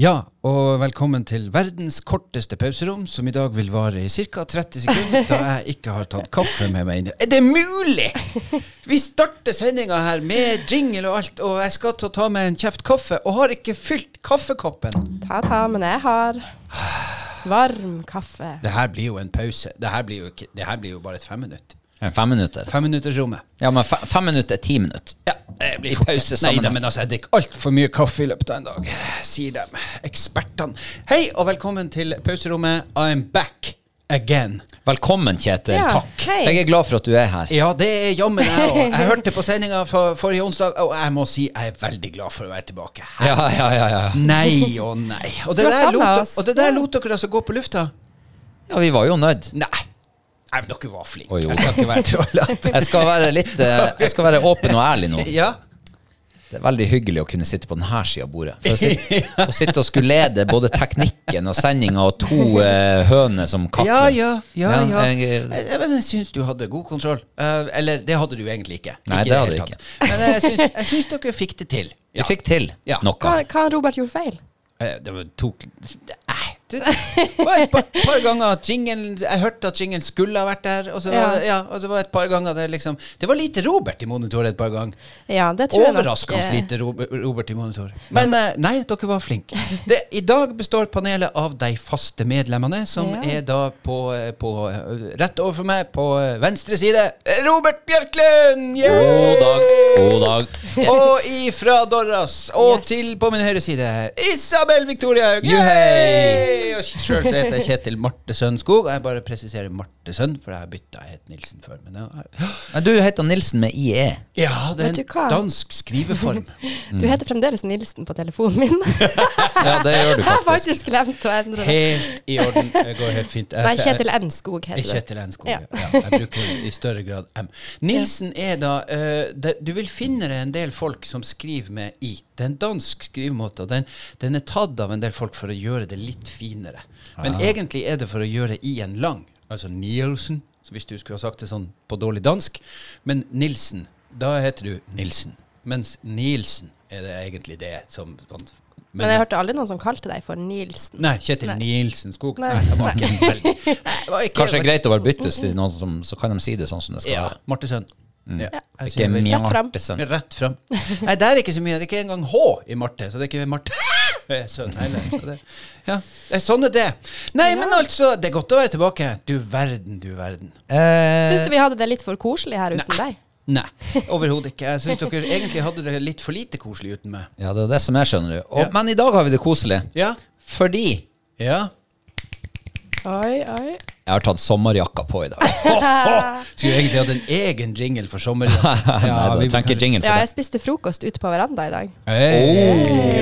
Ja, og velkommen til verdens korteste pauserom, som i dag vil vare i ca. 30 sekunder, da jeg ikke har tatt kaffe med meg inn. Er det mulig?! Vi starter sendinga her med jingle og alt, og jeg skal ta, ta meg en kjeft kaffe, og har ikke fylt kaffekoppen. Ta-ta, men jeg har varm kaffe. Det her blir jo en pause. Det her blir jo, ikke, det her blir jo bare et femminutt. Eh, Fem minutter. Femminuttersrommet. Ja, men fe- fem minutter er ti minutter. Ja, det blir I fort. eh, pause Nei, sammen. da, men altså, jeg drikker altfor mye kaffe i løpet av en dag, sier de ekspertene. Hei, og velkommen til pauserommet. I'm back again. Velkommen, Kjetil. Ja, Takk. hei. Jeg er glad for at du er her. Ja, det er jammen jeg òg. Jeg hørte på sendinga for, forrige onsdag, og jeg må si jeg er veldig glad for å være tilbake. Ja, ja, ja. ja. Nei og nei. Og det Du har der, savnet lot, oss. og det der Ja. lot dere altså gå på lufta? ja vi var jo nødt. Nei. Nei, men dere var flinke. Å, jo. Jeg skal ikke være trollete. Jeg skal være litt eh, Jeg skal være åpen og ærlig nå. Ja. Det er veldig hyggelig å kunne sitte på denne sida av bordet. For å sitte, å sitte og skulle lede både teknikken og sendinga og to eh, høner som katter. Ja, ja, ja, ja. jeg- Jeg, Eh, men jeg syns du hadde god kontroll. Eh, eller det hadde du egentlig ikke. Nei, Ikke i det hadde hele jeg tatt. Men jeg syns, jeg syns dere fikk det til. Vi fikk til Ja. noe. Hva hva har Robert gjort feil? Eh, Det var tok Nei. Det var et par, par ganger at jinglen Jeg hørte at jinglen skulle ha vært der, og så var Ja. det, ja, og så var det et par ganger det liksom Det var lite Robert i monitor et par ganger. Ja, det tror jeg nok, Overraskende eh, lite Robe- Robert i monitor. Men eh, nei, dere var flinke. Det, I dag består panelet av de faste medlemmene, som Ja. er da på, eh, på eh, Rett overfor meg, på eh, venstre side, eh, Robert Bjørklund! Yeah! God dag, god dag. Og ifra Dorras og Yes. til på min høyre side Isabel Victoria Haug. Juhei! Yay! Og sjøl så heter jeg Kjetil Marte Sønnskog. Jeg bare presiserer Marte Sønn, for jeg har bytta het Nilsen før. Men det Men du heter Nilsen med E. IE. ja, det Vet er du en hva? dansk skriveform. Mm. Du heter fremdeles Nilsen på telefonen min. Ja, det gjør du jeg har faktisk. faktisk glemt å endre det. Helt i orden. Det går helt fint. Jeg- Nei, jeg- Kjetil N. Skog heter det. altså, Kjetil N. Skog. Ja. Ja, jeg bruker i større grad M. Nilsen er da eh, det, Du vil finne det en del folk som skriver med I. Det er en dansk skrivemåte, og den, den er tatt av en del folk for å gjøre det litt finere. Men egentlig er det for å gjøre I-en lang, altså Nielsen, så hvis du skulle ha sagt det sånn på dårlig dansk. Men Nilsen, da heter du Nilsen. Mens Nielsen er det egentlig det som sånn, Men jeg hørte aldri noen som kalte deg for Nilsen. Nei, Kjetil Nielsen Skog. Nei, Nei. det var ikke en veldig det var ikke- Kanskje det er greit å bare byttes til noen som Så kan de si det sånn som det skal Ja. Mm. være. Marte Sønn. Ja. Jeg Ikke sånn. synes det er Mia Rett frem. Martensen. veldig- Rett fram. Nei, det er ikke så mye. Det er ikke engang H i Marte, så det er ikke Marte Sønn heller. Så det, ja. det er sånn er det. Nei, men altså, det er godt å være tilbake. Du verden, du verden. Eh, Syns du vi hadde det litt for koselig her uten deg? Eh, Nei, overhodet ikke. Jeg syns dere egentlig hadde det litt for lite koselig uten meg. Ja, det er det som er, skjønner du. Og, Ja. Men i dag har vi det koselig. Ja. Fordi Ja. Oi, oi. jeg har tatt sommerjakka på i dag. Skulle egentlig hatt en egen jingle for sommeren. Ja, Nei, vi da trenger ikke jingle Ja, for jeg spiste frokost ute på veranda i dag. Oi, oi,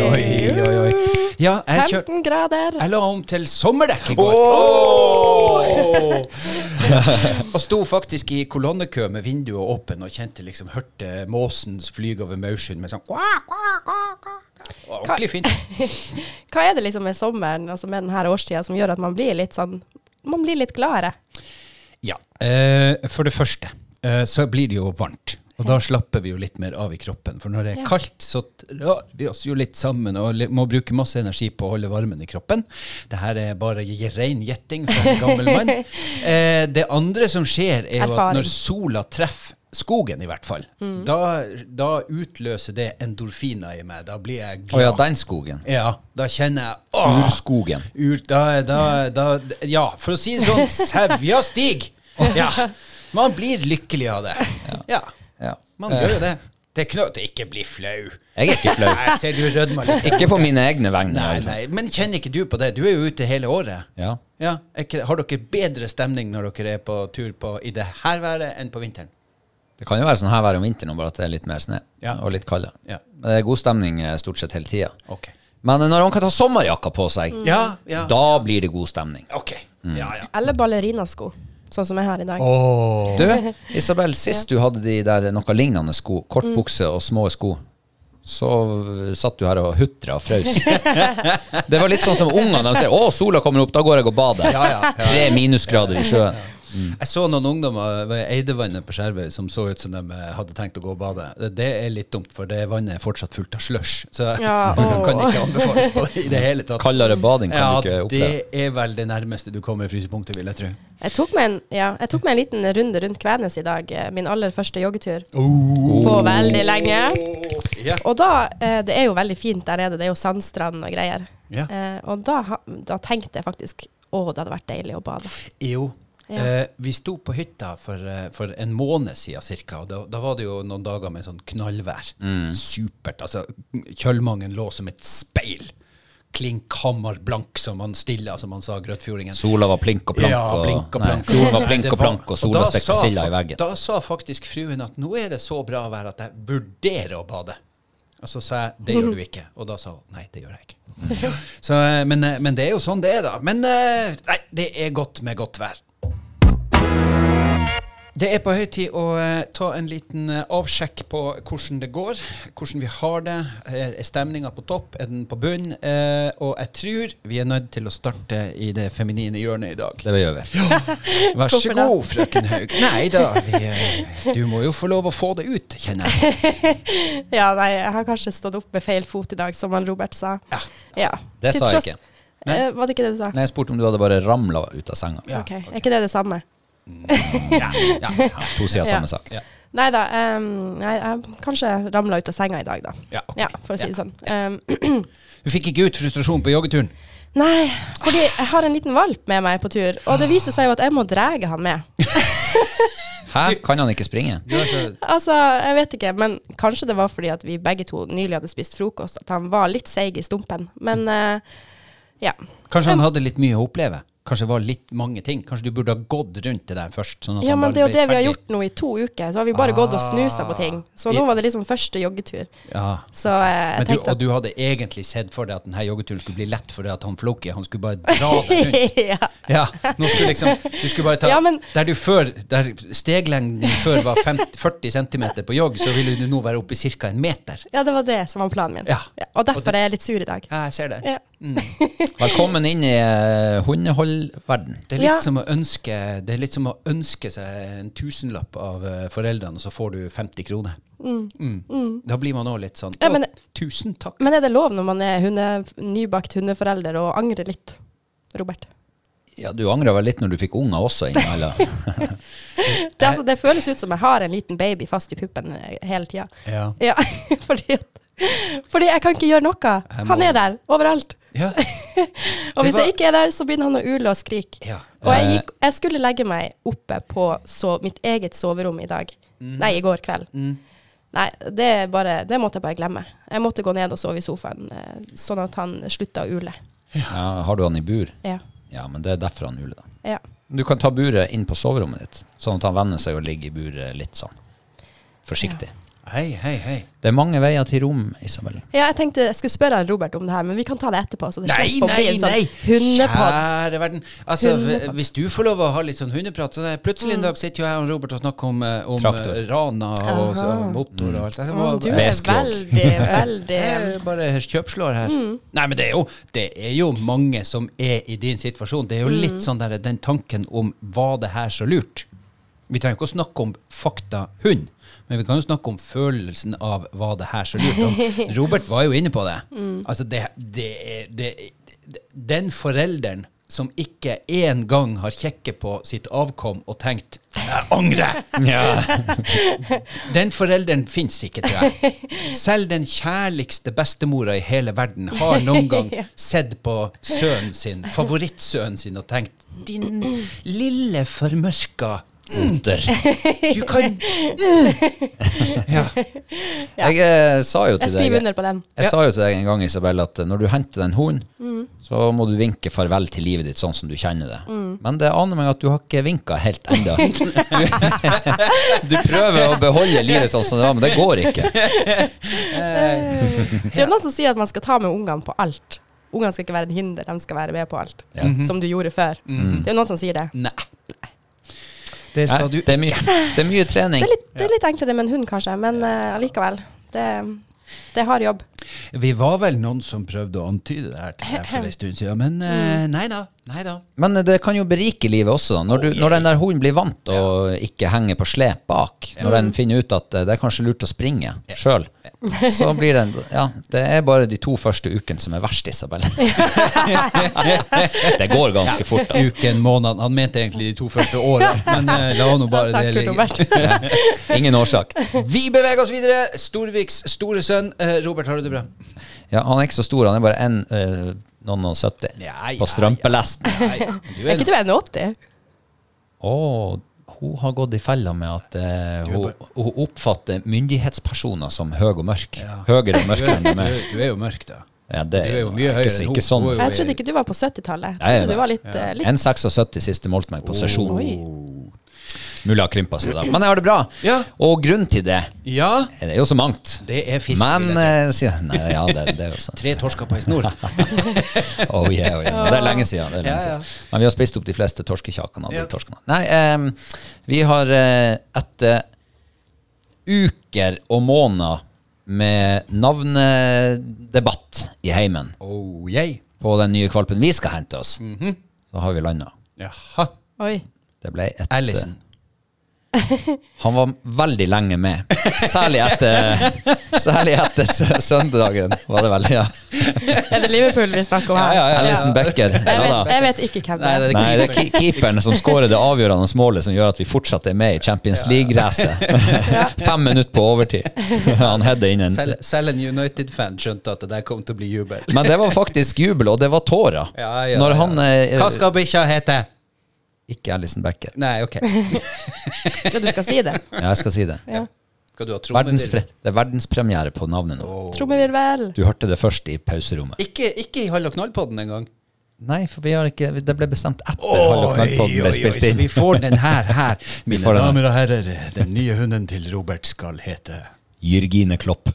oi, oi. Ja, jeg kjørte 15 grader. Jeg la om til sommerdekk i går. og sto faktisk i kolonnekø med vinduet åpen og kjente liksom hørte måsen flyge over maurskyen med sånn «Kva, kva, kva, kva». Det var Ordentlig fint. Hva er det liksom med sommeren, altså med denne årstida, som gjør at man blir litt sånn Man blir litt gladere? Ja. Eh, for det første eh, så blir det jo varmt. Og da slapper vi jo litt mer av i kroppen. For når det er Ja. kaldt, så drar vi oss jo litt sammen og li- må bruke masse energi på å holde varmen i kroppen. Det her er bare j- ren gjetting fra en gammel mann. Eh, det andre som skjer, er jo at Erfaring. Mm. når sola treffer skogen, i hvert fall, da, da utløser det endorfiner i meg. Da blir jeg Å ja, glad. den skogen. ja, da kjenner jeg åh, Urskogen. Ur, da, da, da, ja, for å si det sånn, sevja stig! Ja. Man blir lykkelig av det. Ja, Ja. Eh, man gjør jo det. Det er knø- Ikke bli flau. Jeg er ikke flau. Jeg ser du rødmer litt. Ikke på mine egne vegne. Nei, i hvert fall. nei, men kjenner ikke du på det? Du er jo ute hele året. Ja. Ja, er ikke, Har dere bedre stemning når dere er på tur på, i det her været enn på vinteren? Det kan jo være sånn her vær om vinteren, bare at det er litt mer snø Ja. og litt kaldere. Ja. Men Det er god stemning eh, stort sett hele tida. Ok. Men eh, når man kan ta sommerjakka på seg, Ja, Mm. ja. da Mm. blir det god stemning. Ok. Ja, ja. Eller ballerinasko, sånn som jeg har i dag. Mm. Du, Isabel, sist du hadde de der noe lignende sko, kort bukse og små sko, Så satt du her og hutra og frøs. Det var litt sånn som ungene. De sier 'Å, sola kommer opp, da går jeg og bader'. Ja, ja, ja. Tre minusgrader i sjøen. Jeg så noen ungdommer ved Eidevannet på Skjervøy som så ut som de eh, hadde tenkt å gå og bade. Det er litt dumt, for det vannet er fortsatt fullt av slush. Så Ja, det kan åh. ikke anbefales på det i det hele tatt. Kaldere bading kan Ja, du ikke oppleve. det er vel det nærmeste du kommer frysepunktet, vil jeg tro. Jeg tok meg en, ja, jeg tok meg en liten runde rundt Kvænes i dag. eh, Min aller første joggetur på veldig lenge. Ja. Og da, eh, det er jo veldig fint der nede, det er jo sandstrand og greier. Ja. Eh, og da, ha- da tenkte jeg faktisk å, det hadde vært deilig å bade. Jo. Ja. Eh, vi sto på hytta for, eh, for en måned siden cirka, og da, da var det jo noen dager med sånn knallvær. Mm. Supert. Altså, Kjølmangen lå som et speil. Klinkhammer blank, som han stilla, som han sa, grøtfjordingen. Sola var plink og plank, Ja, og, blink og nei, plank. fjorden var plink Det og plank, og sola da stekte sa silda fak- i veggen. Da sa faktisk fruen at nå er det så bra vær at jeg vurderer å bade. Og så sa jeg det gjør du ikke. Og da sa hun nei, det gjør jeg ikke. Så, eh, men, eh, men det er jo sånn det er, da. Men eh, nei, det er godt med godt vær. Det er på høy tid å eh, ta en liten eh, avsjekk på hvordan det går, hvordan vi har det. Eh, Er stemninga på topp? Er den på bunn? Eh, og jeg tror vi er nødt til å starte i det feminine hjørnet i dag. Det gjør vi. Vær så Hvorfor da? god, frøken Haug. Nei da, vi, eh, du må jo få lov å få det ut, kjenner jeg. Ja, nei, jeg har kanskje stått opp med feil fot i dag, som han Robert sa. Ja. Ja. Det Til sa jeg tross- ikke. Nei. Eh, var det ikke det du sa? Nei, jeg spurte om du hadde bare ramla ut av senga. Ja, ok, ok. Er ikke det det samme? Ja, ja, ja. To sider av Ja. samme sak. Ja. Nei da, em, jeg, jeg kanskje ramla ut av senga i dag, da. Ja, ok. ja for å si det sånn. Em, Du fikk ikke ut frustrasjon på joggeturen? Nei, fordi jeg har en liten valp med meg på tur, og det viser seg jo at jeg må drege han med. Hæ? Kan han ikke springe? Du er så- Altså, jeg vet ikke, men kanskje det var fordi at vi begge to nylig hadde spist frokost, at han var litt seig i stumpen. Men eh, ja. Kanskje han hadde litt mye å oppleve? Kanskje det var litt mange ting? Kanskje du burde ha gått rundt det der først? Sånn at Ja, han men bare det er jo ble det vi har ferdig. gjort nå i to uker, så har vi bare gått og snusa på ting. Så nå var det liksom første joggetur. Ja. Så eh, Men jeg du, tenkte og at du hadde egentlig sett for deg at denne joggeturen skulle bli lett fordi at han Floki han skulle bare dra deg rundt? ja. Ja, nå skulle liksom Du skulle bare ta Ja, men- Der du før Der steglengden din før var 50, 40 cm på jogg, så ville du nå være oppe i ca. en meter. ja, det var det som var planen min. Ja. Og derfor er jeg litt sur i dag. Ja, jeg ser det. Ja. Velkommen inn i eh, hundeholdverden. Det er, litt Ja. som å ønske, det er litt som å ønske seg en tusenlapp av eh, foreldrene, og så får du 50 kroner. Mm. Da blir man òg litt sånn Ja, «Å, men- Tusen takk. Men er det lov når man er hunde, nybakt hundeforelder og angrer litt, Robert? Ja, du angra vel litt når du fikk unger også? Inge, eller? Det, altså, det føles ut som jeg har en liten baby fast i puppen eh, hele tida. Ja. Ja, fordi, at, fordi jeg kan ikke gjøre noe. Jeg må- Han er der overalt. Ja. Og Det hvis var- jeg ikke er der, så begynner han å ule og skrike. Ja. Og jeg, gikk, jeg skulle legge meg oppe på so- mitt eget soverom i dag. Mhm. Nei, i går kveld. Mm. Nei, det, er bare, det måtte jeg bare glemme. Jeg måtte gå ned og sove i sofaen, eh, sånn at han slutta å ule. Ja, har du han i bur? Ja. Ja, men det er derfor han huler, da. ja. Du kan ta buret inn på soverommet ditt, sånn at han venner seg og ligger i buret litt sånn forsiktig. Hei, hei, hei. Det er mange veier til rom, Isabel. Ja, jeg tenkte jeg skulle spørre han Robert om det her, men vi kan ta det etterpå. Så det Nei, slipper å nei, bli en sånn nei! hundepod. Kjære verden. Altså, v- Hundepod. hvis du får lov å ha litt sånn hundeprat så det er Plutselig Mm. en dag sitter jo jeg og Robert og snakker om, eh, om Traktor. eh, Rana og, Aha. og motor og alt. Jeg Å, må- Du er Beskrog. veldig, veldig Jeg bare kjøpslår her. Nei, men det er, jo, det er jo mange som er i din situasjon. Det er jo litt sånn der, den tanken om var det her så lurt? Vi trenger ikke å snakke om fakta hund, men vi kan jo snakke om følelsen av var det her så lurt? Og Robert var jo inne på det. Altså, det, det, er- det, det Den forelderen som ikke en gang har kjekket på sitt avkom og tenkt 'jeg angrer', den forelderen finnes ikke, tror jeg. Selv den kjærligste bestemora i hele verden har noen gang sett på sønnen sin, favorittsønnen sin, og tenkt Din lille formørka onder. Du kan Jeg eh, sa jo Jeg til deg skriver under på den. Jeg sa jo til deg en gang, Isabel, at eh, når du henter den hunden, Mm. så må du vinke farvel til livet ditt sånn som du kjenner det. Mm. Men det aner meg at du har ikke vinka helt ennå. Du, du prøver å beholde livet sånn som det var, men det går ikke. Det er jo noen som sier at man skal ta med ungene på alt. Ungene skal ikke være et hinder, de skal være med på alt. Ja. Som du gjorde før. Det er jo noen som sier det. Nei. Det Nei, skal du det, er mye, det er mye Det trening. er litt, det er litt enklere med en hund, kanskje, men eh, allikevel. det, Det er hard jobb. Vi var vel noen som prøvde å antyde det her til deg for en stund siden, men eh, Mm. nei da. Nei da. Men det kan jo berike livet også, da. Når, du, når den der hunden blir vant til å ikke henge på slep bak, når den finner ut at eh, det er kanskje lurt å springe sjøl, så blir den Ja, det er bare de to første ukene som er verst, Isabel. det går ganske fort, altså. Uken, måneden Han mente egentlig de to første åra, men eh, la nå bare Takk, det Kurt ligge. Robert. Ingen årsak. Vi beveger oss videre. Storviks store sønn. Eh, Robert, har du det bra? Ja, han er ikke så stor, han er bare en, eh, noen og sytti Nei, ja, på strømpelesten. Nei, du Er er, ikke du 1,80? Å, hun har gått i fella med at eh, Du er hun, bare- hun oppfatter myndighetspersoner som høy og mørk. Høyere og mørkere enn de du, er. er, du er jo mørk, da. Ja, det Du er jo mye ikke høyere så- enn hun. Ikke sånn. Hun er jo- Jeg trodde ikke du var på 70-tallet. Jeg Nei, trodde nei. du var litt, eh, litt En 76 siste målt meg på sesjon. Oi. Mulig har krympa seg da. Men jeg har det bra. Ja. Og grunnen til det Ja, Det er jo så mangt. det er fisk. Men vil jeg tro. eh, sier- Nei, ja, det, det er jo sant. Tre torsker på ei snor. Oh, yeah, oh, yeah. Men Det er lenge siden. Det er lenge Ja, ja. siden. Men vi har spist opp de fleste torskekjakene. av de Ja. torskene. Nei, em, vi har eh, etter uker og måneder med navnedebatt i heimen Oh, yay. på den nye valpen vi skal hente oss, Mhm. så har vi landa. Jaha. Oi. Det ble et Allison. Han var veldig lenge med. Særlig etter, særlig etter sø- søndagen, var det vel. Ja. Er det Liverpool vi snakker om her? Alison Becker. Jeg, Ja, vet, da. jeg vet ikke hvem det Nei, er. det- Nei, det er ke- keeperen som skårer det avgjørende målet som gjør at vi fortsatt er med i Champions League-racet. Fem minutter på overtid. Han header inn en Selv, selv en United-fan skjønte at det der kom til å bli jubel. Men det var faktisk jubel, og det var tårer. Ja, ja, Når ja. han eh, Hva skal bikkja hete? Ikke Alison Becker. Nei, OK. Ja, du skal si det. Ja, jeg skal si det. Ja. Skal du ha Verdenspre trommevirvel? det er verdenspremiere på navnet nå. Trommevirvel. Du hørte det først i pauserommet. Ikke, ikke i Hall og knall-podden engang. Nei, for vi har ikke, det ble bestemt etter Hall og Knall-podden ble spilt så inn. vi får den her her. Mine får den her. damer og herrer, den nye hunden til Robert skal hete Jørgine Klopp.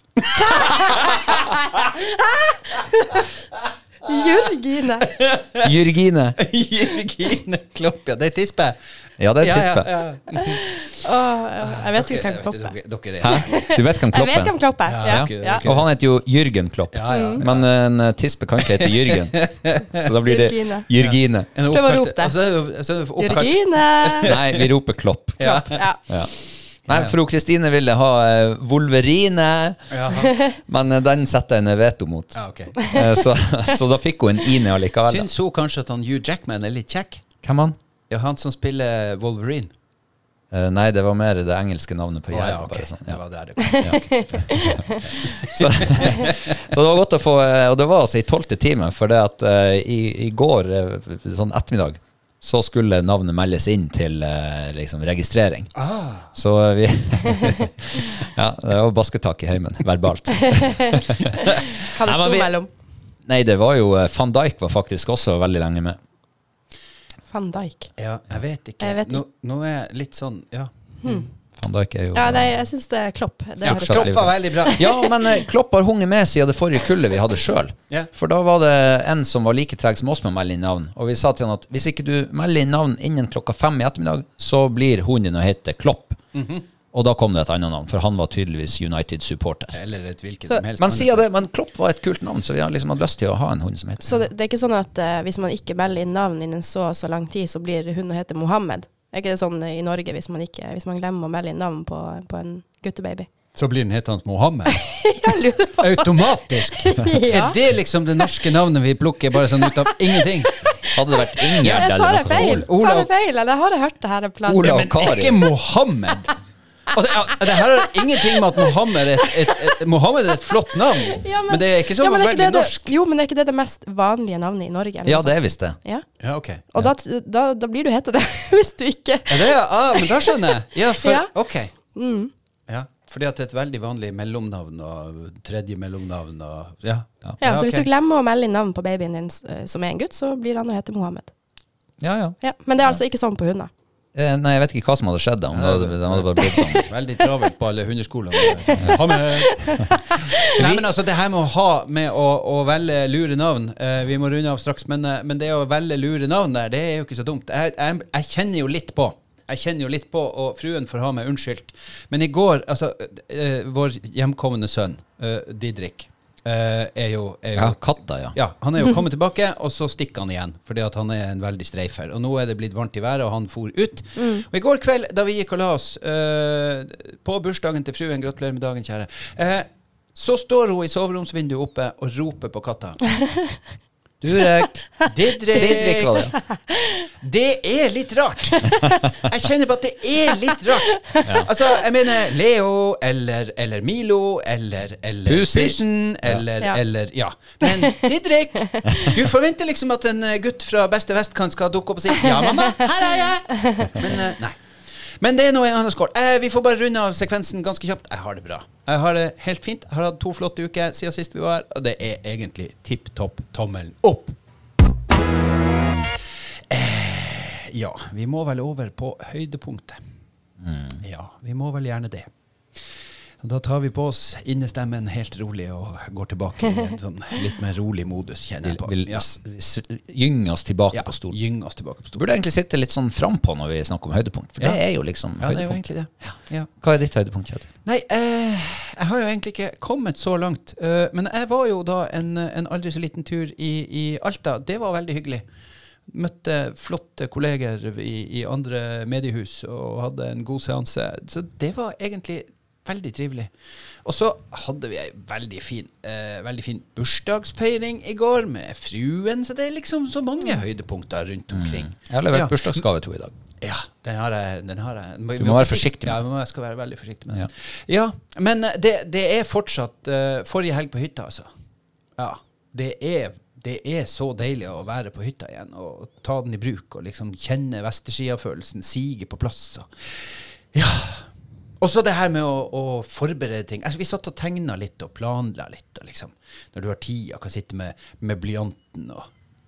Jørgine. Jørgine! Jørgine Klopp, ja. Det er tispe. Ja, det er tispe. Ja, ja, Åh, jeg vet ikke hvem ja. Klopp er. Dere, dere er Hæ? Du vet hvem Jeg Klopp vet er? hvem Klopp er. Ja. ok, Ja. ok. Og han heter jo Jørgen Klopp. Ja, Mm. ja. Men en eh, tispe kan ikke hete Jørgen. Så da blir det Jørgine. Jørgine. En Prøv å oppkalt- rope det. Altså, altså, oppkalt- Jørgine. Nei, vi roper Klopp. Klopp. Ja. Ja. Nei, fru Kristine ville ha eh, Wolverine, Jaha. men eh, den setter jeg ned veto mot. Ja, ok. Eh, Så, så da fikk hun en Ine allikevel. da. Syns hun kanskje at han Hugh Jackman er litt kjekk? Hvem han? Ja, han som spiller Wolverine. Eh, Nei, det var mer det engelske navnet på Å, ja, jævla. ok. bare sånn, Det ja. var der det kom. Så, så det var godt å få eh, Og det var altså i tolvte time, for det at eh, i, i går, eh, sånn ettermiddag, så skulle navnet meldes inn til eh, liksom registrering. Ah, Så eh, vi Ja, det var basketak i heimen, verbalt. Hva det Nei, men sto vi- mellom. Nei, det var jo eh, Van Dijk var faktisk også veldig lenge med. Van Dijk. ja, jeg vet ikke. Jeg vet Nå, nå er jeg litt sånn Ja. Van Dijk er jo Ja, nei, jeg syns det er Klopp. Det Ja, høres Klopp. Kloppa veldig bra. Ja, men eh, Klopp har hunget med siden det forrige kullet vi hadde sjøl. Ja. For da var det en som var like treg som oss med å melde inn navn. Og vi sa til han at hvis ikke du melder inn navn innen klokka fem i ettermiddag, så blir hunden din å hete Klopp. Og da kom det et annet navn, for han var tydeligvis United-supporter. Eller et hvilket Så- som helst. Men siden det, men Klopp var et kult navn, så vi har liksom hatt lyst til å ha en hund som heter Så det, det er ikke sånn at eh, hvis man ikke melder inn navn innen så og så lang tid, så blir hun og heter Mohammed? Er ikke det sånn eh, i Norge hvis man, ikke, hvis man glemmer å melde inn navn på, på en guttebaby? Så blir den hetende Mohammed. Jeg lurer på Automatisk. Ja. Er det liksom det norske navnet vi plukker bare sånn ut av ingenting? Hadde det vært Ingjerd Jeg eller tar noe det feil, sånt. Olav- tar det feil, eller har jeg hørt det her en plass? Olav. Altså, Ja, Men Kari. ikke Mohammed. Altså, ja, det her er ingenting med at Mohammed er et, et, et, Mohammed er et flott navn, Ja, men, det er ikke så ja, men er ikke veldig det det- norsk. Jo, men er ikke det det mest vanlige navnet i Norge? eller Ja, noe det er visst det. sånt? Ja. Ja, ok. Ja, Og da, da, da blir du hete det, hvis du ikke det er, ah, men da skjønner jeg. Ja, for, Ja. Mm. ok. Ja, fordi at det er et veldig vanlig mellomnavn og tredje mellomnavn og Ja. Ja, så hvis ok. du glemmer å melde inn navn på babyen din s- eh, som er en gutt, så blir han å hete Mohammed. Ja, ja. Ja, men det er altså ikke sånn på hunder. Eh, Nei, jeg vet ikke hva som hadde skjedd da, om det hadde, det hadde bare blitt sånn. Veldig travelt på alle hundeskolene. Ha med. Nei, men altså, det her med å ha med å, å velge lure navn eh, Vi må runde av straks, men, eh, men det å velge lure navn der, det er jo ikke så dumt. Jeg, jeg, jeg kjenner jo litt på Jeg kjenner jo litt på, og fruen får ha meg unnskyldt. Men i går altså, eh, Vår hjemkomne sønn, eh, Didrik, eh, er jo, er jo Ja, katta, ja. ja, han er jo kommet tilbake, og så stikker han igjen. Fordi at han er en veldig streifer. Og nå er det blitt varmt i været, og han for ut. Og i går kveld, da vi gikk og la oss, eh, på bursdagen til fruen, gratulerer med dagen, kjære, eh, så står hun i soveromsvinduet oppe og roper på katta. Durek, Didrik, Didrik var det. det er litt rart. Jeg kjenner på at det er litt rart. Altså, jeg mener Leo eller, eller Milo eller, eller Pusi. Pusen eller, Ja. eller Ja. Men Didrik, du forventer liksom at en eh, gutt fra beste vestkant skal dukke opp og si 'ja, mamma, her er jeg'. Men eh, nei. Men det er noe i en annen skål. Eh, vi får bare runde av sekvensen ganske kjapt. Jeg har det bra. Jeg har det helt fint. Jeg har hatt to flotte uker siden sist vi var her, og det er egentlig tipp topp tommel opp. Eh, Ja, vi må vel over på høydepunktet. Mm. Ja, vi må vel gjerne det. Da tar vi på oss innestemmen helt rolig og går tilbake i en sånn litt mer rolig modus, kjenner Vil, jeg på. vil ja. s- s- gynge oss tilbake Ja, på stolen. Gyng oss tilbake på Du stolen. burde egentlig sitte litt sånn frampå når vi snakker om høydepunkt, for det Ja. er jo liksom Ja, det er jo høydepunkt. egentlig det. Ja. Hva er ditt høydepunkt, Kjetil? Nei, eh, jeg har jo egentlig ikke kommet så langt. Eh, men jeg var jo da en, en aldri så liten tur i, i Alta. Det var veldig hyggelig. Møtte flotte kolleger i, i andre mediehus og hadde en god seanse. Så det var egentlig veldig trivelig. Og så hadde vi ei veldig fin, eh, veldig fin bursdagsfeiring i går med fruen, så det er liksom så mange høydepunkter rundt omkring. Mm. Jeg har levert Ja. bursdagsgave til henne i dag. Ja, den har jeg. Den har jeg. Du må være forsiktig med med den. den. Ja, jeg skal være veldig forsiktig med den. Ja, Men eh, det, det er fortsatt eh, forrige helg på hytta, altså. Ja. Det er, det er så deilig å være på hytta igjen og ta den i bruk og liksom kjenne Vesterskia-følelsen sige på plass. Og. Ja. Og så det her med å, å forberede ting. Altså, vi satt og tegna litt og planla litt. Og liksom, når du har tida, kan sitte med, med blyanten og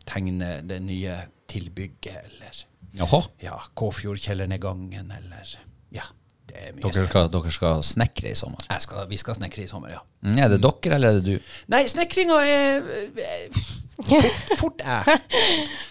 tegne det nye tilbygget eller Jaha. ja, Kåfjordkjelleren i gangen, eller Ja, det er mye Dere skal, dere skal snekre i sommer. Jeg skal, Vi skal snekre i sommer, ja. Mm, Er det dere, eller er det du? Nei, snekringa er eh, Fort, fort jeg.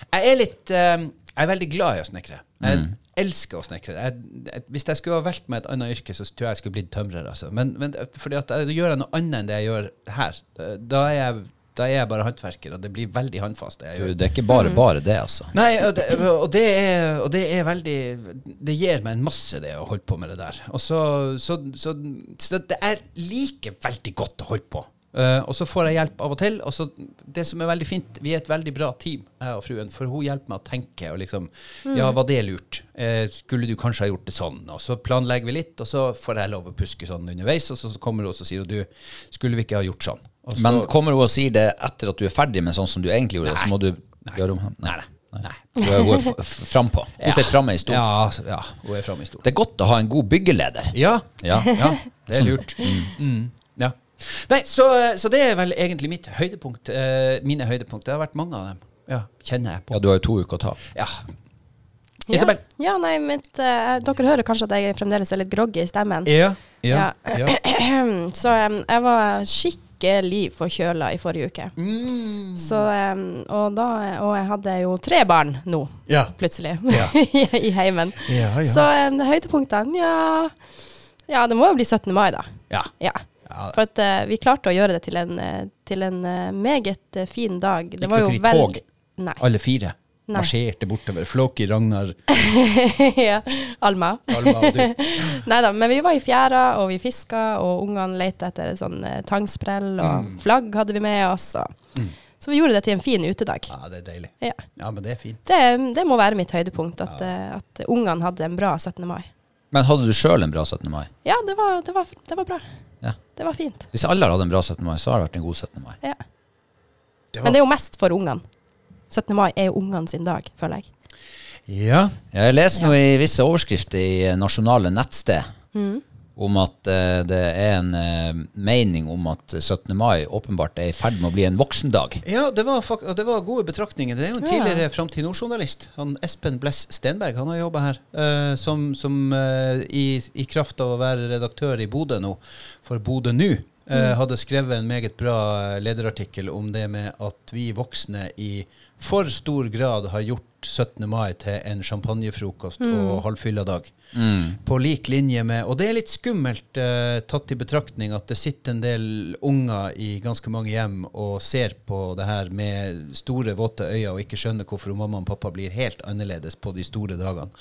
Jeg er litt eh, Jeg er veldig glad i å snekre. Jeg Mm. elsker å snekre. Jeg, jeg, hvis jeg skulle ha valgt meg et annet yrke, så tror jeg jeg skulle blitt tømrer. Altså. Men, men fordi at jeg, gjør jeg noe annet enn det jeg gjør her, eh, da er jeg, da er jeg bare håndverker, og det blir veldig håndfast. det Jeg gjør. Det er ikke bare bare det, altså. mm. Nei, og det, og, det er, og det er veldig Det gir meg en masse, det å holde på med det der. Og så, så, så, så det er like veldig godt å holde på. Eh, og så får jeg hjelp av og til. Og så det som er veldig fint, vi er et veldig bra team, jeg og fruen, for hun hjelper meg å tenke. Og liksom, ja, var det lurt? Eh, skulle du kanskje ha gjort det sånn? Og så planlegger vi litt, og så får jeg lov å puske sånn underveis. Og så kommer hun og så sier hun, du, skulle vi ikke ha gjort sånn? Og Men så, kommer hun og sier det etter at du er ferdig med sånn som du egentlig gjorde, så må du gjøre om ham? Nei. Nei. Hun er- Hun er f- f- frampå. Hun sitter framme i stolen. ja, ja, hun er framme i stolen. Det er godt å ha en god byggeleder. Ja, Ja. Ja, det er Sånn. lurt. Mm. Ja. Nei, så, så det er vel egentlig mitt høydepunkt. eh, mine høydepunkt. Det har vært mange av dem. Ja, kjenner jeg på. ja, du har jo to uker å ta. Ja. Ja. Isabel. Ja, nei, mitt, eh, dere hører kanskje at jeg fremdeles er litt groggy i stemmen. Ja. ja. ja. Så em, jeg var skikkelig forkjøla i forrige uke. Mm. Så, em, og, da, og jeg hadde jo tre barn nå, Ja. plutselig, Ja. i heimen. Ja, ja. Så em, høydepunktene, ja Ja, det må jo bli 17. mai, da. Ja. Ja. Ja. For at eh, vi klarte å gjøre det til en, eh, til en eh, meget eh, fin dag. Det Gikk var jo dere i veldig tog? Nei. Alle fire Nei. marsjerte bortover. Flåki, Ragnar, ja. Alma. Alma og du. Nei da, men vi var i fjæra, og vi fiska, og ungene lette etter en sånn eh, tangsprell, og Mm. flagg hadde vi med oss. Og. Så vi gjorde det til en fin utedag. Ja, det er deilig. Ja. Ja, men det er fint. Det, det må være mitt høydepunkt, at, eh, at ungene hadde en bra 17. mai. Men hadde du sjøl en bra 17. mai? Ja, det var, det var, det var bra. Ja. Det var fint. Hvis alle har hatt en bra 17. mai, så har det vært en god 17. mai. Ja. Det var- Men det er jo mest for ungene. 17. mai er jo ungene sin dag, føler jeg. Ja. Jeg leser nå i visse overskrifter i eh, nasjonale nettsted om at eh, det er en eh, mening om at 17. mai åpenbart er i ferd med å bli en voksendag. Ja, det var, fak- og det var gode betraktninger. Det er jo en Ja. tidligere Framtid Nord-journalist. Han Espen Bless Stenberg han har jobba her eh, som, som eh, i, i kraft av å være redaktør i Bodø nå, for Bodø nå, eh, hadde skrevet en meget bra eh, lederartikkel om det med at vi voksne i for stor grad har gjort bort 17. mai til en champagnefrokost og halvfylla dag. På lik linje med Og det er litt skummelt eh, tatt i betraktning at det sitter en del unger i ganske mange hjem og ser på det her med store, våte øyne og ikke skjønner hvorfor mamma og pappa blir helt annerledes på de store dagene.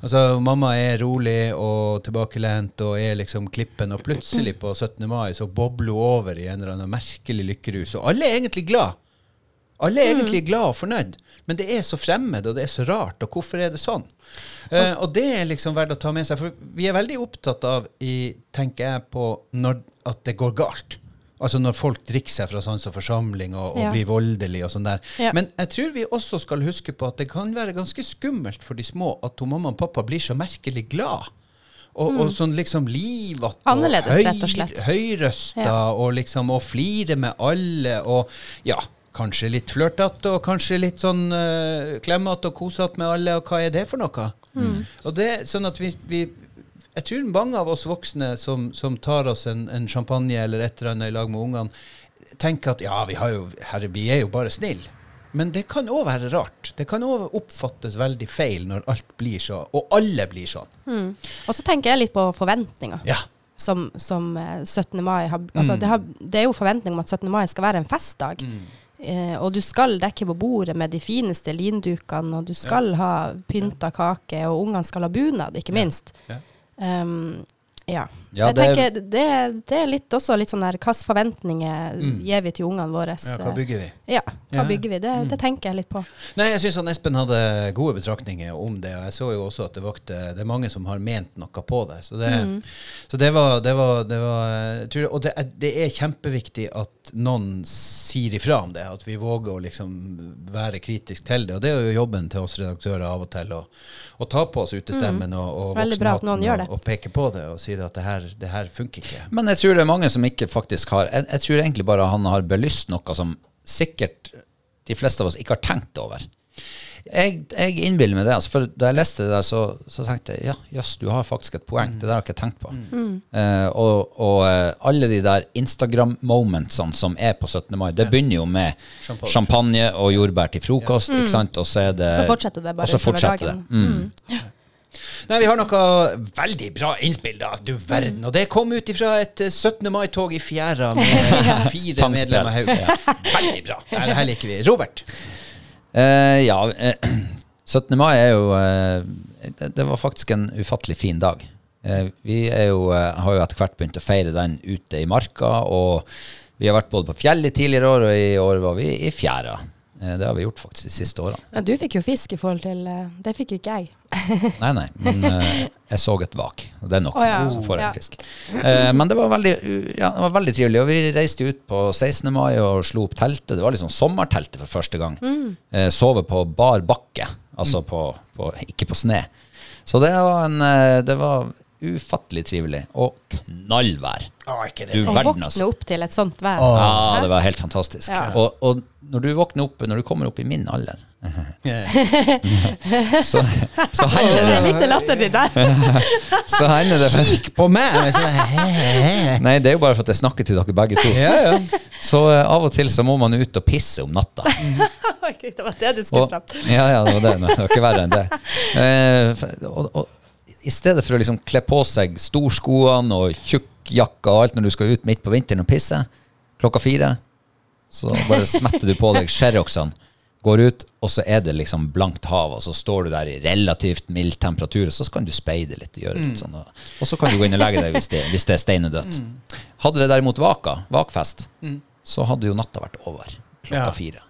Altså, mamma er rolig og tilbakelent og er liksom klippen, og plutselig på 17. mai så bobler hun over i en eller annen merkelig lykkerus, og alle er egentlig glad. Alle er Mm. egentlig glad og fornøyd, men det er så fremmed, og det er så rart, og hvorfor er det sånn? Eh, og det er liksom verdt å ta med seg, for vi er veldig opptatt av, i, tenker jeg, på når, at det går galt. Altså når folk drikker seg fra sans og forsamling og, og Ja. blir voldelige og sånn der. Ja. Men jeg tror vi også skal huske på at det kan være ganske skummelt for de små at hun mamma og pappa blir så merkelig glad. Og, Mm. og sånn liksom livete og Annerledes, rett og høy- slett. høyrøsta Ja. og liksom å flire med alle og ja, kanskje litt flørtete og kanskje litt sånn uh, klemmete og kosete med alle, og hva er det for noe? Mm. Og det er sånn at vi, vi jeg tror mange av oss voksne som, som tar oss en, en champagne eller et eller annet i lag med ungene, tenker at ja, vi, har jo, herre, vi er jo bare snille. Men det kan òg være rart. Det kan òg oppfattes veldig feil når alt blir så, og alle blir sånn. Mm. Og så tenker jeg litt på forventninger. Ja. Som, som eh, 17. mai har, altså det, har, det er jo forventning om at 17. mai skal være en festdag. Eh, og du skal dekke på bordet med de fineste lindukene, og du skal ha pynta kake, og ungene skal ha bunad, ikke minst. ja. Um, ja. Ja, jeg det er- tenker det, det er litt også litt sånn der hvilke forventninger gir vi til ungene våre? ja hva bygger vi? Mm. Ja, Mm. hva Ja. bygger vi? Det, det tenker jeg litt på. Nei, jeg syns Espen hadde gode betraktninger om det. Og jeg så jo også at det vakte Det er mange som har ment noe på det. Så det, Mm. så det var, det var, det var jeg tror, Og det er, det er kjempeviktig at noen sier ifra om det. At vi våger å liksom være kritisk til det. Og det er jo jobben til oss redaktører av og til å, å ta på oss utestemmen og, og Mm. Veldig bra at noen gjør det. og, og peke på det og si at det her, det her funker ikke. Men jeg tror det er mange som ikke faktisk har Jeg, jeg tror egentlig bare han har belyst noe som sikkert de fleste av oss ikke har tenkt over. Jeg, jeg innbiller meg det. Altså, for da jeg leste det der, så, så tenkte jeg ja, jøss, du har faktisk et poeng. Det der har jeg ikke tenkt på. Eh, og og eh, alle de der Instagram-momentsene som er på 17. mai, det begynner jo med Champagne. champagne, og jordbær til frokost, ikke sant, og så er det Så fortsetter det bare og så utover fortsetter dagen. det. Mm. Nei, vi har noe veldig bra innspill, da. Du verden. Og det kom ut ifra et eh, 17. mai-tog i fjæra med fire Tangspill. medlemmer Haug. Veldig bra. Nei, det her liker vi. Robert. Eh, ja, eh, 17. mai er jo eh, det, det var faktisk en ufattelig fin dag. Eh, vi er jo, eh, har jo etter hvert begynt å feire den ute i marka, og vi har vært både på fjellet tidligere år, og i år var vi i fjæra. Eh, det har vi gjort faktisk de siste årene. Ja, du fikk jo fisk i forhold til eh, Det fikk jo ikke jeg. Nei, nei, men eh, jeg så et vak, og det er nok Å, for ja. meg, så får jeg Ja. en fisk. Eh, men det var, veldig, uh, ja, det var veldig trivelig, og vi reiste ut på 16. mai og slo opp teltet. Det var liksom sommerteltet for første gang. Mm. Eh, sove på bar bakke, altså på, på, ikke på sne. Så det var, en, eh, det var ufattelig trivelig, og knallvær. Å, ikke Du Å verden, våkne altså. opp til et sånt vær. Åh. Ja, det var helt fantastisk. Ja. Og, og når du våkner opp, når du kommer opp i min alder, Eh, så, så Det hender er det, litt latterlig der. så hender det Kikk på meg! med sånn, he, he, he. Nei, det er jo bare for at jeg snakker til dere begge to. Ja, ja. Så eh, av og til så må man ut og pisse om natta. Ok, det var det du skulle Og, fram til. ja, ja, det var det. Det var ikke verre enn det. Eh, f- og, og i stedet for å liksom kle på seg storskoene og tjukkjakka og alt når du skal ut midt på vinteren og pisse, klokka fire, så bare smetter du på deg Sherroxene, går ut, og så er det liksom blankt hav, og så står du der i relativt mild temperatur, og så kan du speide litt og gjøre litt sånn. Og, og så kan du gå inn og legge deg hvis det, hvis det er steinedødt. Hadde det derimot vaka, vakfest, så hadde jo natta vært over klokka Ja. fire.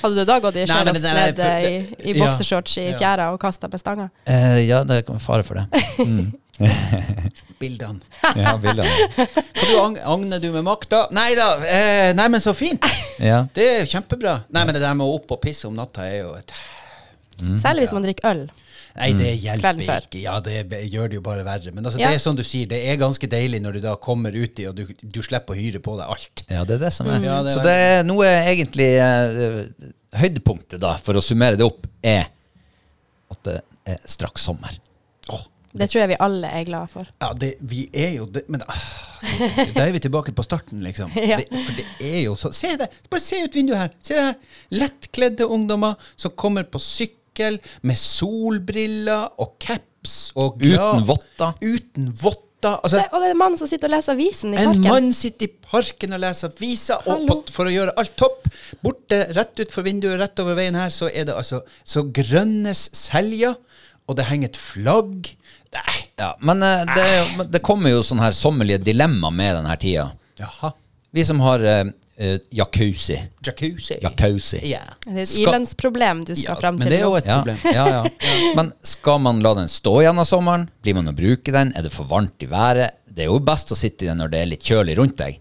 Hadde du da gått i Nei, men det skjellets der er ned for- eh, i, i Ja. bokseshorts i Ja. fjæra og kasta med stanga? Eh, ja, det kan fare for det. Bildene. Ja, bildene. Hva du ang- agner du med makta? Nei da. Eh, nei, men så fint! Ja. Det er jo kjempebra. Nei, men det der med å opp og pisse om natta er jo et Mm. Særlig hvis man drikker øl. Nei, det Mm. hjelper Kvelden før. ikke. Ja, det be- gjør det jo bare verre. Men altså, Ja. det er sånn du sier, det er ganske deilig når du da kommer uti, og du, du slipper å hyre på deg alt. ja, det er det som er. Ja, det er Så det er noe egentlig eh, Høydepunktet, da, for å summere det opp, er at det er straks sommer. Åh. Det tror jeg vi alle er glad for. Ja, det, vi er jo det, men ah, da er vi tilbake på starten, liksom. Ja. Det, for det er jo så Se det! Bare se ut vinduet her! Se det her! Lettkledde ungdommer som kommer på sykkel sokkel, med solbriller og caps og glad- Uten votter. Uten votter. Altså, Se, og det er en mann som sitter og leser avisen i en parken. mann sitter i parken og leser aviser, og Hallo. på, for å gjøre alt topp, borte, rett ut for vinduet, rett over veien her, så er det altså så grønnes selja, og det henger et flagg. Nei, Ja, men eh, det, er jo- men det kommer jo sånne her sommerlige dilemma med denne tida. jaha. Vi som har eh, eh, jacuzzi. Jacuzzi. Jacuzzi. Ja. Det er et Skal- ilandsproblem du skal Ja, fram men til det er jo nå. et- Ja, problem. ja, ja. Men skal man la den stå gjennom sommeren? Blir man å bruke den? Er det for varmt i været? Det er jo best å sitte i den når det er litt kjølig rundt deg.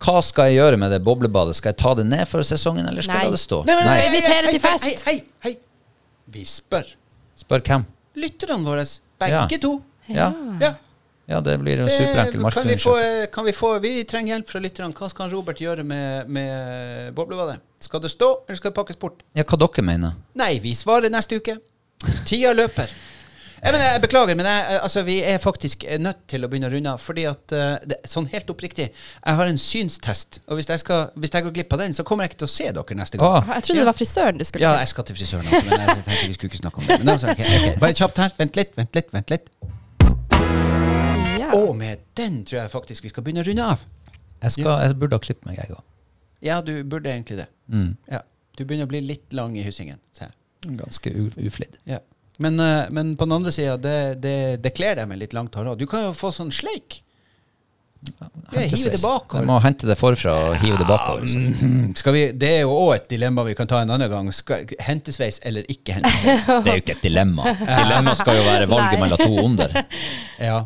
Hva skal jeg gjøre med det boblebadet? Skal jeg ta det ned for sesongen, eller skal Nei. jeg la det stå? Nei, men- altså, Skal vi invitere hei, til hei, fest? Hei, hei, hei. Vi spør Spør hvem. lytterne våre, begge Ja. to. Ja, Ja. ja det blir en Det, superenkel kan, vi få, markedsundersøkelse. eh, kan vi få Vi trenger hjelp fra lytterne. Hva skal Robert gjøre med, med boblebadet? Skal det stå, eller skal det pakkes bort? Ja, hva dere mener? Nei, vi svarer neste uke. Tida løper. Jeg, mener, jeg beklager, men jeg, altså, vi er faktisk eh, nødt til å begynne å runde av. Fordi at, eh, det, sånn helt oppriktig, jeg har en synstest. Og hvis jeg, skal, hvis jeg går glipp av den, så kommer jeg ikke til å se dere neste gang. Ah, Jeg trodde det var frisøren du skulle Ja, til. jeg skal til frisøren. Altså, men jeg tenkte vi skulle ikke snakke om det. Men altså, ok, ok. Bare kjapt her. Vent litt, vent litt. vent litt. Ja. Og med den tror jeg faktisk vi skal begynne å runde av. jeg, skal, jeg burde ha klippet meg, jeg Mm. òg. Ja, du burde egentlig det. Ja. Du begynner å bli litt lang i hyssingen. ser jeg. Ganske u- uflidd. Ja. Men, eh, men på den andre sida, det, det, det kler deg med litt langt hår òg. Du kan jo få sånn sleik. hiv det Hentesveis. bakover. Jeg må hente det forfra og hive det bakover. Så. Skal vi, det er jo òg et dilemma vi kan ta en annen gang. Skal, hentesveis eller ikke hentesveis? Det er jo ikke et dilemma. Dilemma skal jo være valget Nei. mellom to onder. ja.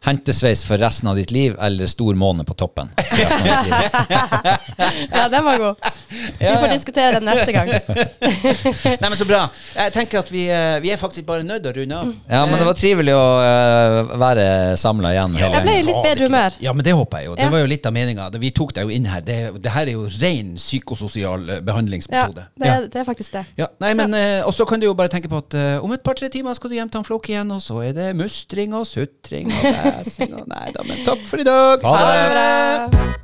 Hentesveis for resten av ditt liv, eller stor måne på toppen. for resten av ditt liv. ja, den var god. Vi får diskutere den neste gang. Nei, men så bra. Jeg tenker at vi, eh, vi er faktisk bare nødt til å runde av. Ja, men det var trivelig å eh, være samla igjen. hele Jeg ble i gjengen. litt bedre humør. Ja, men det håper jeg jo. Det Ja. var jo litt av meninga. Det- Vi tok deg jo inn her. Det, det her er jo ren psykososial eh, Ja, behandlingsmetode. det er, det er faktisk det. Ja, nei, men eh, også kan du jo bare tenke på at eh, om et par-tre timer skal du hjem til han Flåke igjen, og så er det mustring og sutring og bæsing og Nei da, men takk for i dag. Ha det. Ha det bra.